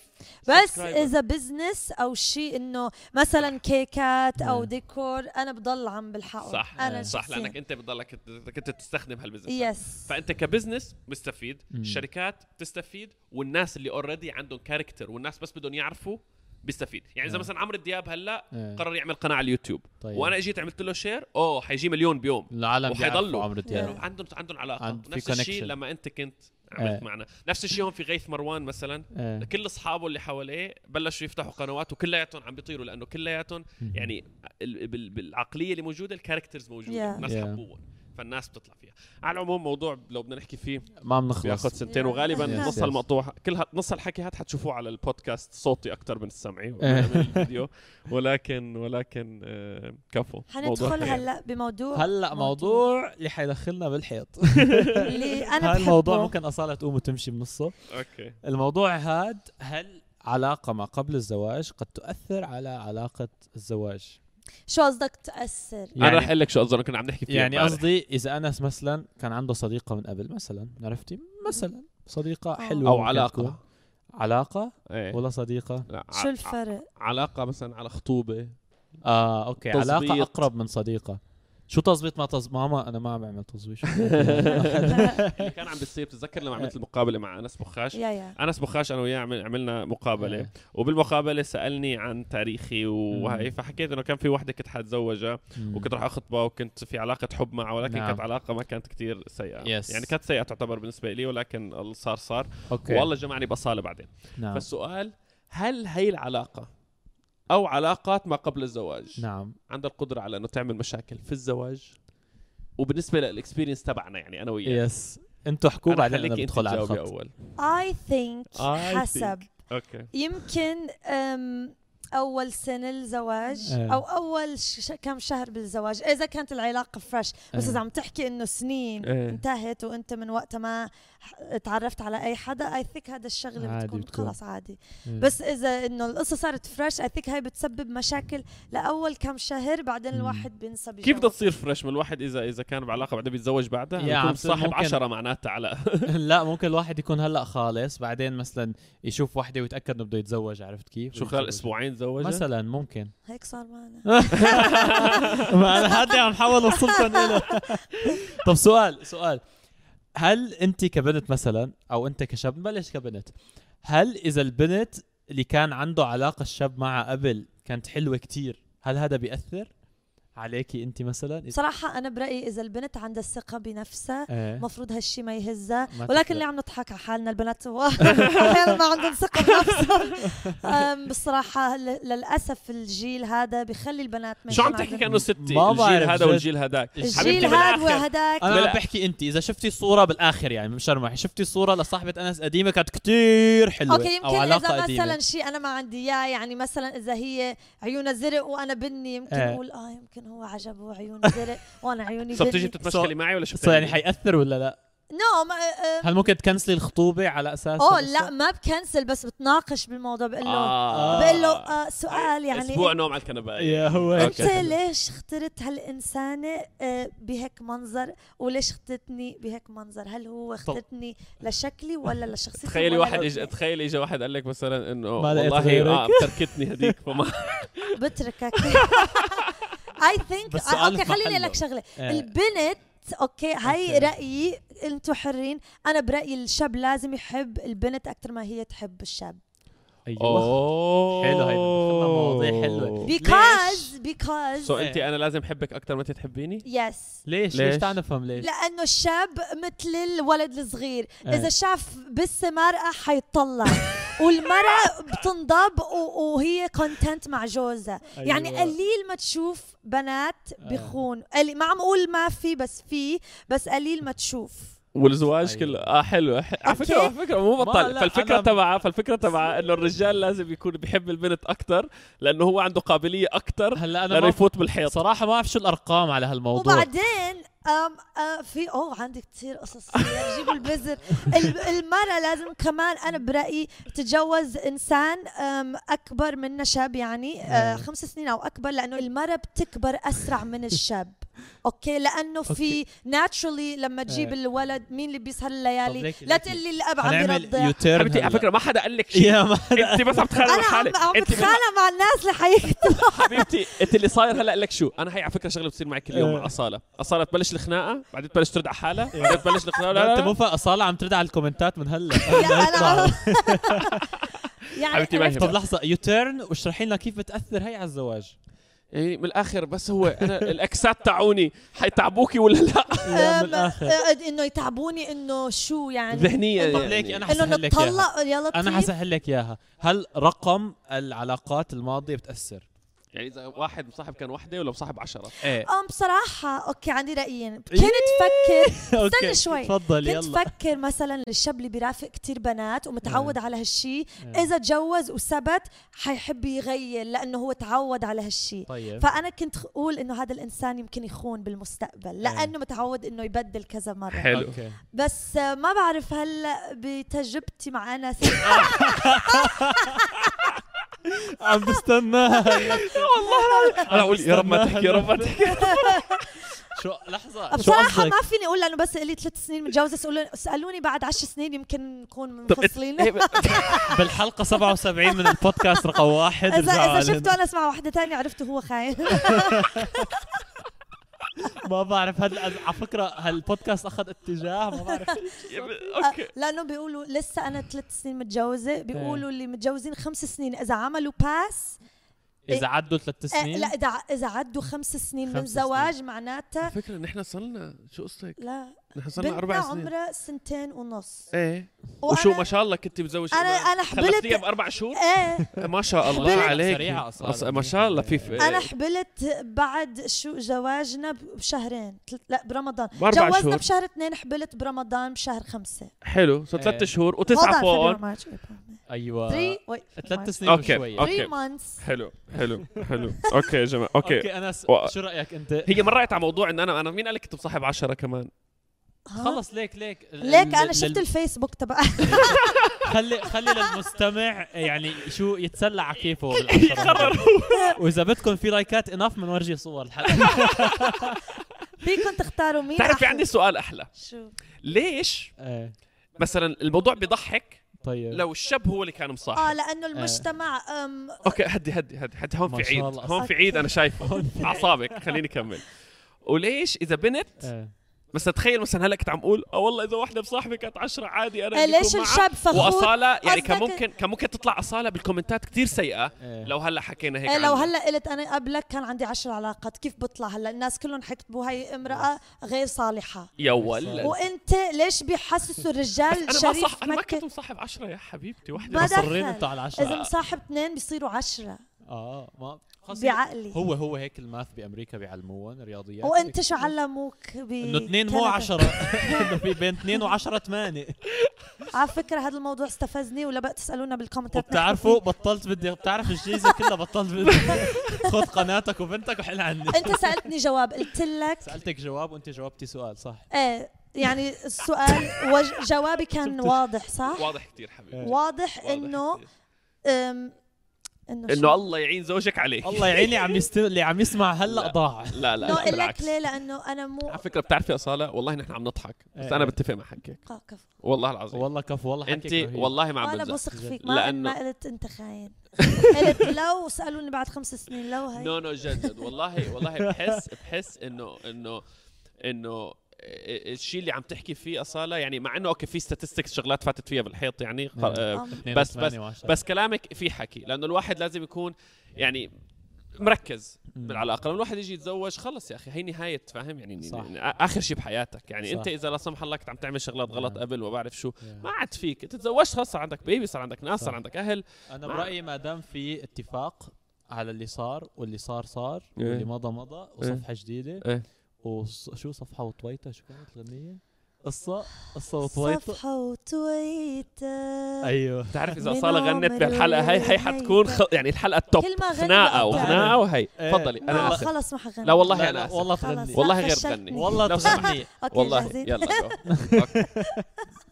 S3: بس
S1: subscriber.
S3: اذا بزنس او شيء انه مثلا كيكات او
S2: Yeah.
S3: ديكور انا بضل عم بلحقه
S1: صح
S3: انا
S1: صح لانك انت بتضلك بدك انت تستخدم هالبزنس
S3: يس
S1: فانت كبزنس مستفيد
S2: مم.
S1: الشركات تستفيد والناس اللي اوريدي عندهم كاركتر والناس بس بدهم يعرفوا بيستفيد يعني اذا
S2: إيه.
S1: مثلا عمرو دياب هلا
S2: إيه.
S1: قرر يعمل قناه على اليوتيوب
S2: طيب.
S1: وانا اجيت عملت له شير اوه حيجي مليون بيوم
S2: العالم
S1: وحيضلوا. يعني
S2: بيعرفوا عمرو
S1: لانه
S2: دياب
S1: عندهم عندهم علاقه
S2: آه. عند- في
S1: نفس الشيء
S2: connection.
S1: لما انت كنت عملت
S2: آه.
S1: معنا نفس الشيء هون في غيث مروان مثلا
S2: إيه.
S1: كل اصحابه اللي حواليه بلشوا يفتحوا قنوات وكلياتهم عم بيطيروا لانه كلياتهم يعني ال- بال- بالعقليه اللي موجوده الكاركترز موجوده
S3: Yeah.
S1: الناس
S2: Yeah.
S1: حبوهم فالناس بتطلع فيها على العموم موضوع لو بدنا نحكي فيه
S2: ما بنخلص
S1: بياخذ سنتين
S3: Yeah.
S1: وغالبا
S2: Yes,
S1: نص
S2: yes.
S1: المقطوع كل ه- نص الحكي هاد حتشوفوه على البودكاست صوتي اكثر من السمعي من
S2: إيه.
S1: الفيديو ولكن ولكن آه، كفو موضوع
S3: حندخل
S1: حلو.
S3: هلا بموضوع
S2: هلا موضوع اللي حيدخلنا بالحيط
S3: اللي انا
S2: هذا
S3: بحبه
S2: الموضوع ممكن اصاله تقوم وتمشي بنصه
S1: اوكي
S2: الموضوع هاد هل علاقه ما قبل الزواج قد تؤثر على علاقه الزواج
S3: شو قصدك تاثر
S1: انا رح اقول لك شو قصدي كنا عم نحكي فيه
S2: يعني
S1: امبارح.
S2: قصدي اذا انس مثلا كان عنده صديقه من قبل مثلا عرفتي مثلا صديقه حلوه
S1: او
S2: ممكن
S1: علاقه
S2: تكون. علاقه
S1: ايه.
S2: ولا صديقه
S1: لا،
S3: شو
S1: ع-
S3: الفرق
S1: ع- علاقه مثلا على خطوبه
S2: اه اوكي
S1: تظبيط.
S2: علاقه اقرب من صديقه شو تظبيط ما تظبيط ماما انا ما بعمل تظبيط
S1: اللي كان عم بيصير بتتذكر لما عملت المقابله مع انس بخاش
S3: إيه. يا يا
S1: انس بخاش انا وياه عمل- عملنا مقابله
S2: إيه.
S1: وبالمقابله سالني عن تاريخي وهي
S2: مم.
S1: فحكيت انه كان في وحده كنت حتزوجها وكنت راح اخطبها وكنت في علاقه حب معها ولكن
S2: نعم.
S1: كانت علاقه ما كانت كتير سيئه
S2: Yes.
S1: يعني كانت سيئه تعتبر بالنسبه لي ولكن اللي صار صار
S2: اوكي
S1: والله جمعني بصاله بعدين
S2: نعم
S1: فالسؤال هل هي العلاقه او علاقات ما قبل الزواج
S2: نعم
S1: عندها القدره على انه تعمل مشاكل في الزواج وبالنسبه للاكسبيرينس تبعنا يعني انا وياك
S2: يس انتوا حكوا
S1: أنا
S2: بعدين
S1: خليكي
S2: انا
S1: أنت
S2: بدخل على
S1: تجاوبي
S2: الخط
S1: اول
S3: اي ثينك
S1: I think.
S3: حسب
S1: اوكي
S3: يمكن أم، اول سنه الزواج
S2: إيه.
S3: او اول ش- كم شهر بالزواج اذا كانت العلاقه فريش بس
S2: إيه.
S3: اذا عم تحكي انه سنين
S1: إيه.
S3: انتهت وانت من وقتها ما ح- تعرفت على اي حدا اي ثيك هذا الشغله
S2: عادي
S3: بتكون,
S2: بتكون. إيه.
S3: خلص عادي بس اذا انه القصه صارت فريش اي ثيك هاي بتسبب مشاكل لاول كم شهر بعدين
S2: مم.
S3: الواحد بينسى
S1: كيف بدها
S3: بجوز.
S1: تصير فريش من الواحد اذا اذا كان بعلاقه بعدين بيتزوج بعدها
S2: يا
S1: يكون
S2: عم تصير
S1: صاحب
S2: ممكن.
S1: 10 معناتها على
S2: لا ممكن الواحد يكون هلا خالص بعدين مثلا يشوف وحده ويتاكد انه بده يتزوج عرفت كيف
S1: شو خلال
S2: ويتزوج.
S1: اسبوعين تزوجها
S2: مثلا ممكن
S3: هيك صار معنا
S2: إيه. ما انا هادي عم حاول اوصلكم له طب سؤال سؤال هل انت كبنت مثلا او انت كشاب بلش كبنت هل اذا البنت اللي كان عنده علاقه الشاب معها قبل كانت حلوه كتير هل هذا بياثر عليكي انت مثلا إذا-
S3: بصراحه انا برايي اذا البنت عندها الثقه بنفسها
S2: إيه.
S3: المفروض هالشي ما يهزها
S2: ما
S3: ولكن
S2: تفرق.
S3: اللي عم نضحك على حالنا البنات و- احيانا ما عندهم ثقه بنفسهم أم، بصراحه ل- للاسف الجيل هذا بيخلي البنات ما
S1: شو عم
S3: يكون
S1: تحكي
S3: عندهم-
S1: كانه ستي
S2: ما
S1: الجيل
S2: بعرف
S1: هذا
S2: جد.
S1: والجيل هذاك
S2: الجيل
S1: حبيبتي
S3: الجيل هذا
S1: بالآخر.
S3: وهداك
S2: انا
S1: بلا-
S2: عم بحكي انت اذا شفتي صوره بالاخر يعني مش رمح شفتي صوره لصاحبه انس قديمه كانت كتير حلوه
S3: اوكي يمكن
S2: او علاقه
S3: اذا
S2: قديمه
S3: مثلا شيء انا ما عندي اياه يعني مثلا اذا هي عيونها زرق وانا بني يمكن
S2: إيه.
S3: اقول اه يمكن هو عجبه عيونه زرق وانا عيوني
S1: صرت تيجي
S3: بني
S1: بتتمشكلي معي ولا شو
S2: So يعني حيأثر ولا لا؟
S3: نو ما- أه،
S2: هل ممكن تكنسلي الخطوبه على اساس
S3: اوه
S2: هالقصة؟
S3: لا ما بكنسل بس بتناقش بالموضوع بقول له
S1: آه.
S3: بقول له آه، سؤال يعني
S1: اسبوع نوم على الكنبايه
S2: يا هو
S3: انت
S1: أوكي.
S3: ليش اخترت هالانسانه آه، بهيك منظر وليش اخترتني بهيك منظر هل هو اخترتني لشكلي ولا لشخصيتي
S1: تخيلي
S3: ولا
S1: واحد
S3: لوجهي؟
S1: يجي تخيلي اجى واحد قال لك مثلا انه
S2: ما لقيت
S1: والله
S2: غيرك. أيوة.
S1: اه تركتني هذيك فما
S3: بتركك اي ثينك
S2: بس سؤال
S3: اوكي
S2: في
S3: خليني
S2: محله.
S3: اقول لك شغله
S2: آه.
S3: البنت اوكي هاي
S2: أوكي.
S3: رايي انتم حرين انا برايي الشاب لازم يحب البنت اكثر ما هي تحب الشاب
S2: ايوه
S1: اوه
S2: حلو هيدا، دخلنا مواضيع حلوة. ليش؟
S3: بيكوز بيكوز
S1: سو انت انا لازم احبك اكثر ما انت تحبيني
S3: يس
S1: ليش؟
S2: ليش؟ ليش تعال نفهم ليش؟
S3: لانه الشاب مثل الولد الصغير
S2: إيه.
S3: اذا شاف بس مرأة حيطلع والمرأة بتنضب و- وهي كونتنت مع جوزها
S2: أيوة.
S3: يعني قليل ما تشوف بنات
S2: آه.
S3: بخون قليل ما عم اقول ما في بس في بس قليل ما تشوف
S1: والزواج
S2: أيوة.
S1: كله اه حلو ح- على فكره على
S3: أوكي.
S1: فكره مو
S2: ما
S1: بطل
S2: لا،
S1: فالفكره
S2: أنا-
S1: تبعها فالفكره تبعها انه الرجال لازم يكون بيحب البنت اكثر لانه هو عنده قابليه اكثر
S2: هلا انا
S1: لانه
S2: ما
S1: يفوت بالحيط
S2: صراحه ما بعرف شو الارقام على هالموضوع
S3: وبعدين أم آه في اوه عندي كثير قصص كتير. جيبوا البزر ال- المرأة لازم كمان انا برأيي تتجوز انسان أم، اكبر منها شاب يعني آه،
S2: آه.
S3: خمس سنين او اكبر لانه المرأة بتكبر اسرع من الشاب اوكي لانه في ناتشرلي لما تجيب
S2: آه.
S3: الولد مين اللي بيسهر
S2: طب
S3: الليالي
S2: ليك-
S3: لا
S2: ليك-
S3: تقول لي الاب عم
S2: هنعمل
S3: يرضع
S2: يوتيرن
S1: حبيبتي على
S2: هلأ.
S1: فكره ما حدا قال لك شيء
S2: يا ما
S1: انت بس عم تخرب
S3: انا عم
S1: حالك
S3: عم
S1: انت بس-
S3: بتخانق مع الناس لحقيقة
S1: حبيبتي انت اللي صاير هلا لك شو انا هي على فكره شغله بتصير معي كل يوم
S2: إيه.
S1: مع اصاله اصاله تبلش الخناقه بعدين تبلش ترد على حالها بعدين تبلش الخناقه إيه. لا،
S2: انت
S1: لا
S2: مو
S1: لا
S2: فاهم اصاله عم ترد على الكومنتات من هلا طيب.
S3: لا، أنا-
S1: حبيبتي ما هي
S3: يعني
S2: طب لحظه يوتيرن واشرحي لنا كيف بتاثر هي على الزواج
S1: يعني من الاخر بس هو انا الاكسات تاعوني حيتعبوكي ولا لا
S2: يا من
S3: أم،
S2: الاخر
S3: آه، انه يتعبوني انه شو يعني
S1: ذهنيا
S2: طب
S1: يعني.
S2: ليك انا
S3: انه
S2: حسهل لك إياها.
S3: نتطلق طيب. يا لطيف
S2: انا حسهل لك اياها هل رقم العلاقات الماضيه بتاثر؟
S1: يعني اذا واحد مصاحب كان وحده ولا مصاحب عشرة
S2: ايه
S3: أم بصراحة أوكي عندي رأيين كنت
S2: إيه.
S3: فكر
S2: اوكي
S3: شوي.
S2: تفضل
S3: كنت
S2: يلا
S3: فكر مثلا الشاب اللي بيرافق كتير بنات ومتعود على هالشي
S2: إيه.
S3: إذا تجوز وثبت حيحب يغير لأنه هو تعود على هالشي
S2: طيب
S3: فأنا كنت أقول إنه هذا الإنسان يمكن يخون بالمستقبل
S2: إيه.
S3: لأنه متعود إنه يبدل كذا مرة
S1: حلو
S2: اوكي
S3: بس آه، ما بعرف هلا بتجربتي مع أنس
S2: عم بستناها
S1: انا اقول يا رب ما تحكي يا رب ما تحكي
S2: شو لحظه شو
S3: بصراحة
S2: قصدك؟
S3: ما فيني أقول لأنه بس لي ثلاث سنين متجوزة سألوني- سألوني بعد عشر سنين يمكن نكون
S2: طيب.
S3: منفصلين
S2: بالحلقه 77 من البودكاست رقم واحد
S3: اذا
S2: رجعوا
S3: اذا
S2: علينا.
S3: شفته انا اسمع واحده تانية عرفته هو خاين
S2: ما بعرف هل على فكره هالبودكاست اخذ اتجاه ما بعرف
S1: اوكي
S3: لانه بيقولوا لسه انا ثلاث سنين
S1: إيه.
S3: متجوزه بيقولوا اللي متجوزين خمس سنين اذا عملوا باس
S2: اذا عدوا ثلاث
S3: آه،
S2: سنين
S3: لا اذا اذا عدوا خمس سنين من
S2: خمس
S3: زواج معناتها
S1: فكرة نحن صلنا شو قصتك؟
S3: لا
S1: نحن صلنا
S3: بنتنا
S1: أربع سنين
S3: عمرها سنتين ونص
S1: ايه
S3: وأنا-
S1: وشو ما شاء الله كنت مزوج
S3: أنا- أنا حبلت-
S1: خلفتيها بأربع شهور
S3: ايه
S1: ما شاء الله
S3: حبلت-
S1: عليك
S2: سريعة صارت.
S1: أص- ما شاء الله في
S3: انا حبلت بعد شو جواجنا بشهرين ثلاث- لا برمضان
S1: بأربع
S3: جوزنا
S1: شهور.
S3: بشهر اثنين حبلت برمضان بشهر خمسة
S1: حلو صار ثلاث
S2: إيه.
S1: شهور
S3: Hold
S1: وتسعة
S3: on, February,
S1: فوق
S3: March, April, May.
S2: ايوه
S3: Three- wait,
S2: ثلاث
S3: March.
S2: سنين
S1: أوكي.
S2: وشوي
S1: أوكي.
S3: Three months
S1: حلو حلو حلو اوكي يا جماعة اوكي
S2: اوكي انس
S1: و-
S2: شو رايك انت
S1: هي مرقت على موضوع ان انا انا مين قال لك كنت بصاحب عشرة كمان
S3: ها؟
S2: خلص ليك ليك ال-
S3: آه. ليك
S2: ال-
S3: انا شفت
S2: لل-
S3: الفيسبوك تبع
S2: خلي خلي للمستمع يعني شو يتسلى على كيفه يقرر واذا بدكم في لايكات اناف بنورجي صور الحلقه
S3: فيكم تختاروا مين
S1: بتعرف في
S2: يعني
S3: أحلى.
S1: عندي سؤال احلى
S3: شو
S1: ليش
S2: ايه
S1: مثلا الموضوع بيضحك
S2: طيب
S1: لو الشاب هو اللي كان مصاحب
S3: اه
S2: آه.
S3: لانه المجتمع أم،
S1: اوكي هدي هدي هدي هدي هون
S2: ما
S1: في
S2: شاء
S1: عيد
S2: الله.
S1: هون في عيد انا شايفه اعصابك خليني اكمل وليش اذا بنت
S2: ايه
S1: مثلا تخيل مثلا هلا كنت عم اقول اه والله اذا وحده بصاحبي كانت 10 عادي انا
S3: إيه،
S1: بدي
S3: ليش
S1: أكون معها.
S3: الشاب فخور؟
S1: واصاله يعني
S3: قصدك-
S1: كان ممكن كان ممكن تطلع اصاله بالكومنتات كثير سيئه
S2: إيه.
S1: لو هلا حكينا هيك
S3: إيه لو
S1: عنها.
S3: هلا قلت انا قبلك كان عندي عشر علاقات كيف بطلع هلا الناس كلهم حكتبوا هاي امراه غير صالحه
S1: يا ولد
S3: وانت ليش بيحسسوا الرجال
S1: انا ما صح
S3: شريف
S1: انا ما
S3: مكه
S1: كنت مصاحب 10 يا حبيبتي وحده
S3: ما
S1: بس.
S2: مصرين
S3: دخل.
S2: انتوا على العشاء
S3: اذا مصاحب اثنين بيصيروا عشرة
S2: اه ما خلص
S3: بعقلي
S2: هو هو هيك الماث بامريكا بيعلموهم رياضيات
S3: وانت شو علموك ب
S2: انه اثنين مو
S3: كندا؟
S2: عشرة انه في بين اثنين وعشرة ثمانية
S3: على فكره هذا الموضوع استفزني ولا بقى تسالونا بالكومنتات
S2: وبتعرفوا بطلت بدي بتعرف الجيزة كلها بطلت بدي خذ قناتك وبنتك وحل عني
S3: انت سالتني جواب قلت لك
S2: سألتك جواب وانت جاوبتي سؤال صح
S3: ايه يعني السؤال وج- جوابي كان واضح صح؟
S1: واضح كثير حبيبي
S3: واضح
S1: واضح
S3: انه
S1: كتير.
S3: أم، انه شو؟
S1: انه الله يعين زوجك عليك
S2: الله يعيني عم يست... اللي عم يسمع هلا
S1: لا.
S2: ضاع
S1: لا لا,
S3: انه
S1: لا
S3: اقول لك
S1: بالعكس
S3: ليه لانه انا مو
S1: على فكره بتعرفي اصاله والله نحن عم نضحك بس
S2: إيه.
S1: انا بتفق مع حكيك
S3: آه، كفو.
S1: والله العظيم
S2: والله كفو والله
S1: انت
S2: حكيك رهيب.
S1: والله ما عم
S3: وانا
S1: بمزح
S3: بثق فيك ما
S1: لأنه-
S3: ما قلت انت خاين قلت لو سالوني بعد خمس سنين لو هي
S1: نو نو جد جد والله والله بحس بحس انه انه انه الشيء اللي عم تحكي فيه اصاله يعني مع انه اوكي في statistics شغلات فاتت فيها بالحيط يعني خ-
S2: نعم.
S1: آه،
S3: آم.
S2: اثنين
S1: بس
S2: وثمانية
S1: بس
S3: آه.
S2: وعشرة.
S1: بس كلامك في حكي لانه الواحد لازم يكون يعني مركز
S2: مم.
S1: بالعلاقه لما الواحد يجي يتزوج خلص يا اخي هي نهايه فاهم يعني
S2: صح.
S1: يعني اخر شيء بحياتك يعني
S2: صح.
S1: انت اذا لا سمح الله كنت عم تعمل شغلات غلط
S2: آه.
S1: قبل وما بعرف شو
S2: يا.
S1: ما عاد فيك أنت تزوجت خلص صار عندك بيبي صار عندك ناس
S2: صح.
S1: صار عندك اهل
S2: انا
S1: ما-
S2: برايي ما دام في اتفاق على اللي صار واللي صار صار
S1: إيه.
S2: واللي مضى مضى وصفحه جديده
S1: إيه.
S2: وشو صفحه وطويته شو كانت الغنيه قصه قصه وطويته
S3: صفحه وتويتر
S2: ايوه
S1: بتعرف اذا
S3: من
S1: صاله غنت
S3: عمر
S1: بهالحلقه هي هي
S3: وهي.
S1: حتكون خ... يعني الحلقه التوب
S3: كل ما غني
S1: خناقه
S3: بقطع.
S1: وخناقه وهي
S2: إيه.
S1: تفضلي
S3: لا
S1: انا اسف
S3: خلص ما حغني
S1: لا والله
S2: لا،
S1: انا
S2: لا،
S1: اسف
S2: والله
S3: خلص.
S2: تغني
S1: والله غير
S3: فشلتني.
S1: تغني
S2: والله
S1: لو
S2: تغني.
S1: سمحت
S3: اوكي
S1: والله
S3: جاهزين؟
S1: يلا جو أوكي.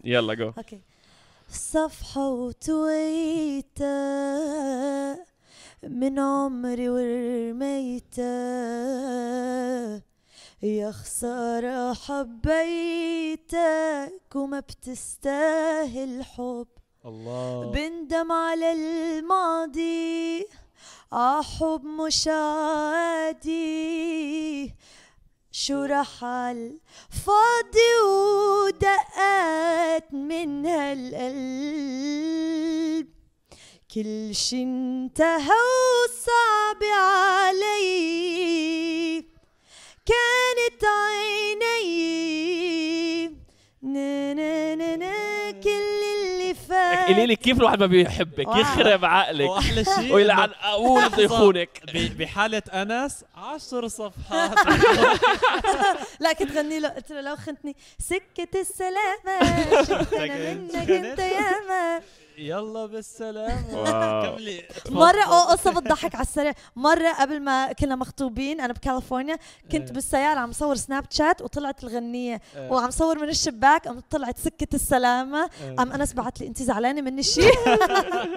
S1: يلا جو
S3: اوكي صفحة وتويتة من عمري ورميتة يا خسارة حبيتك وما بتستاهل حب
S2: الله
S3: بندم على الماضي آه، عحب مش عادي شو راح على الفاضي ودقات من هالقلب كل شي انتهى وصعب علي كانت عيني نا نا نا نا كل اللي فات
S1: قولي لي كيف الواحد ما بيحبك
S3: آه. واو.
S1: يخرب عقلك
S2: واحلى شيء
S1: ويلعن
S2: إنه
S1: اول بده يخونك
S2: ب- بحاله انس عشر صفحات
S3: لا كنت غني له قلت له لو خنتني سكة السلامة شفت أنا منك أنت ياما
S2: يلا بالسلامه
S1: واو.
S2: كملي
S3: مرة أو قصة بتضحك على السريع مرة قبل ما كنا مخطوبين أنا بكاليفورنيا كنت
S2: إيه.
S3: بالسيارة عم صور سناب شات وطلعت الغنية وعم صور من الشباك قام طلعت سكة السلامة
S2: إيه.
S3: قام أنس بعت لي أنت زعلانة مني شيء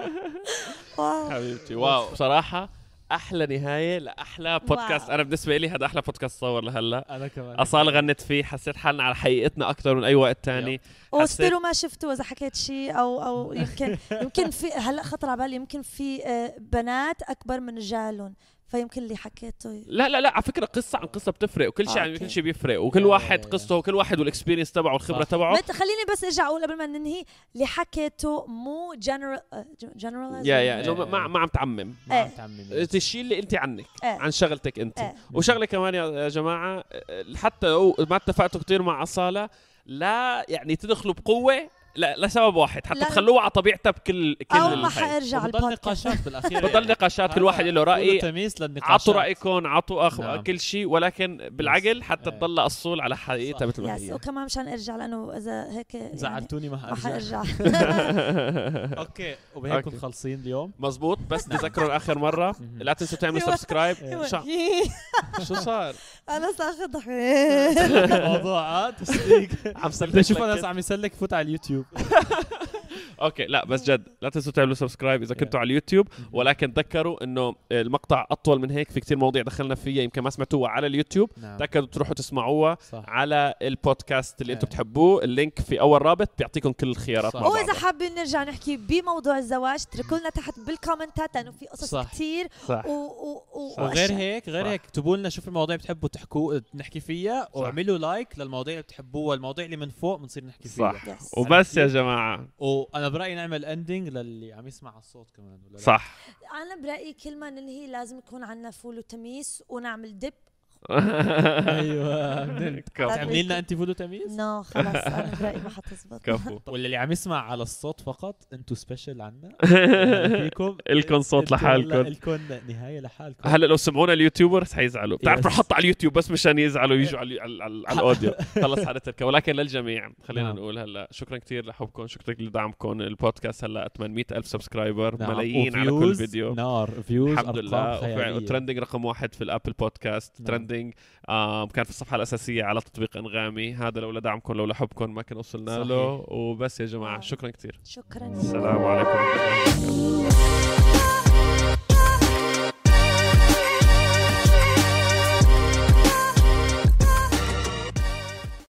S3: واو
S1: حبيبتي واو بصراحه احلى نهايه لاحلى بودكاست
S3: واو.
S1: انا بالنسبه لي هذا احلى بودكاست صور لهلا
S2: انا كمان
S1: اصاله غنت فيه حسيت حالنا على حقيقتنا اكثر من اي وقت تاني حسيت
S3: واستروا ما شفتوا اذا حكيت شيء او او يمكن يمكن في هلا خطر على بالي يمكن في آه، بنات اكبر من رجالهم فيمكن اللي حكيته
S1: لا لا لا على فكره قصه عن قصه بتفرق وكل شيء
S3: آه،
S1: عن
S3: أوكي.
S1: كل شيء بيفرق وكل
S2: يا-
S1: واحد
S2: يا-
S1: قصته وكل واحد والاكسبيرينس تبعه والخبره
S2: صح.
S1: تبعه
S3: بنت خليني بس ارجع اقول قبل ما ننهي اللي حكيته مو آه، جنرال جنرال
S1: يا يا إنه
S2: إيه.
S1: ما ما عم تعمم
S2: ما عم
S3: إيه.
S2: نعم، تعممي.
S1: الشيء اللي انت عنك
S3: إيه.
S1: عن شغلتك انت
S3: إيه.
S1: وشغله كمان يا جماعه حتى لو ما اتفقتوا كثير مع اصاله لا يعني تدخلوا بقوه لا لسبب واحد حتى
S3: لا.
S1: تخلوها على طبيعتها بكل كل
S3: او ما
S1: الحياة.
S3: حارجع على
S2: بضل
S3: البودكاست
S2: نقاشات بالاخير
S1: بضل نقاشات كل واحد له راي
S2: تميس للنقاشات
S1: عطوا رايكم عطوا أخ...
S2: نعم.
S1: كل شيء ولكن بالعقل حتى
S2: إيه.
S1: تطلع الصول على حقيقتها
S2: صح.
S1: مثل ما
S3: يس
S1: هي
S3: وكمان مشان ارجع لانه اذا هيك يعني
S2: زعلتوني ما
S3: ما
S2: حارجع
S3: حارجع
S2: اوكي وبهيك
S1: أوكي.
S2: كنا خالصين اليوم
S1: مزبوط بس نذكرهم اخر مره
S2: مهم.
S1: لا تنسوا تعملوا
S3: أيوة.
S1: سبسكرايب شو- شو صار
S3: انا ساخذ
S2: موضوع تسليك
S1: عم
S2: آه، بدي اشوف
S1: لك
S2: انس عم يسلك فوت على اليوتيوب
S1: اوكي لا بس جد لا تنسوا تعملوا سبسكرايب اذا كنتوا على اليوتيوب ولكن تذكروا انه المقطع اطول من هيك في كتير مواضيع دخلنا فيها يمكن ما سمعتوها على اليوتيوب
S2: نعم
S1: تاكدوا تروحوا تسمعوها
S2: صح
S1: على البودكاست اللي
S2: إيه.
S1: انتم بتحبوه اللينك في اول رابط بيعطيكم كل الخيارات
S2: صح.
S1: مع
S3: واذا
S1: بعض
S3: حابين نرجع نحكي بموضوع الزواج اتركوا لنا تحت بالكومنتات لانه في قصص
S2: صح.
S3: كثير
S1: صح
S3: و و و
S2: وغير هيك غير
S1: صح.
S2: هيك اكتبوا لنا شوف المواضيع اللي بتحبوا تحكوا آه، نحكي فيها واعملوا لايك للمواضيع اللي بتحبوها المواضيع اللي من فوق بنصير نحكي فيها
S1: صح.
S3: يس.
S1: وبس يا جماعه
S2: وانا برايي نعمل اندنج للي عم يسمع على الصوت كمان ولا لا؟
S1: صح
S3: انا برايي كل ما ننهي لازم يكون عندنا فول وتميس ونعمل دب
S2: ايوه من-
S1: كفو
S2: تعملي لنا انت فولو تمييز
S3: نو خلاص انا برايي ما حتزبط
S1: كفو
S2: ولا اللي عم يسمع على الصوت فقط انتوا سبيشل عنا يعني فيكم
S1: إلكن صوت
S2: إلكن-
S1: لحالكن.
S2: لا، إلكن نهايه لحالكم
S1: هلا لو سمعونا اليوتيوبرز حيزعلوا بتعرفوا
S2: Yes.
S1: حط على اليوتيوب بس مشان يزعلوا يجوا على على, على, على الاوديو خلص حدا تركه ولكن للجميع خلينا
S2: نعم.
S1: نقول هلا شكرا كثير لحبكم شكرا لدعمكم البودكاست هلا 800 الف سبسكرايبر
S2: نعم،
S1: ملايين على كل
S2: وفيوز نعم.
S1: فيديو
S2: نار فيوز
S1: الحمد لله وفعلا
S2: وفعلا
S1: وترندنج رقم واحد في الابل بودكاست
S2: نعم.
S1: ترندنج آم كان في الصفحه الاساسيه على تطبيق انغامي هذا لولا دعمكم لولا حبكم ما كان وصلنا
S2: صحيح.
S1: له وبس يا جماعه
S3: آه.
S1: شكرا كثير
S3: شكرا
S1: السلام عليكم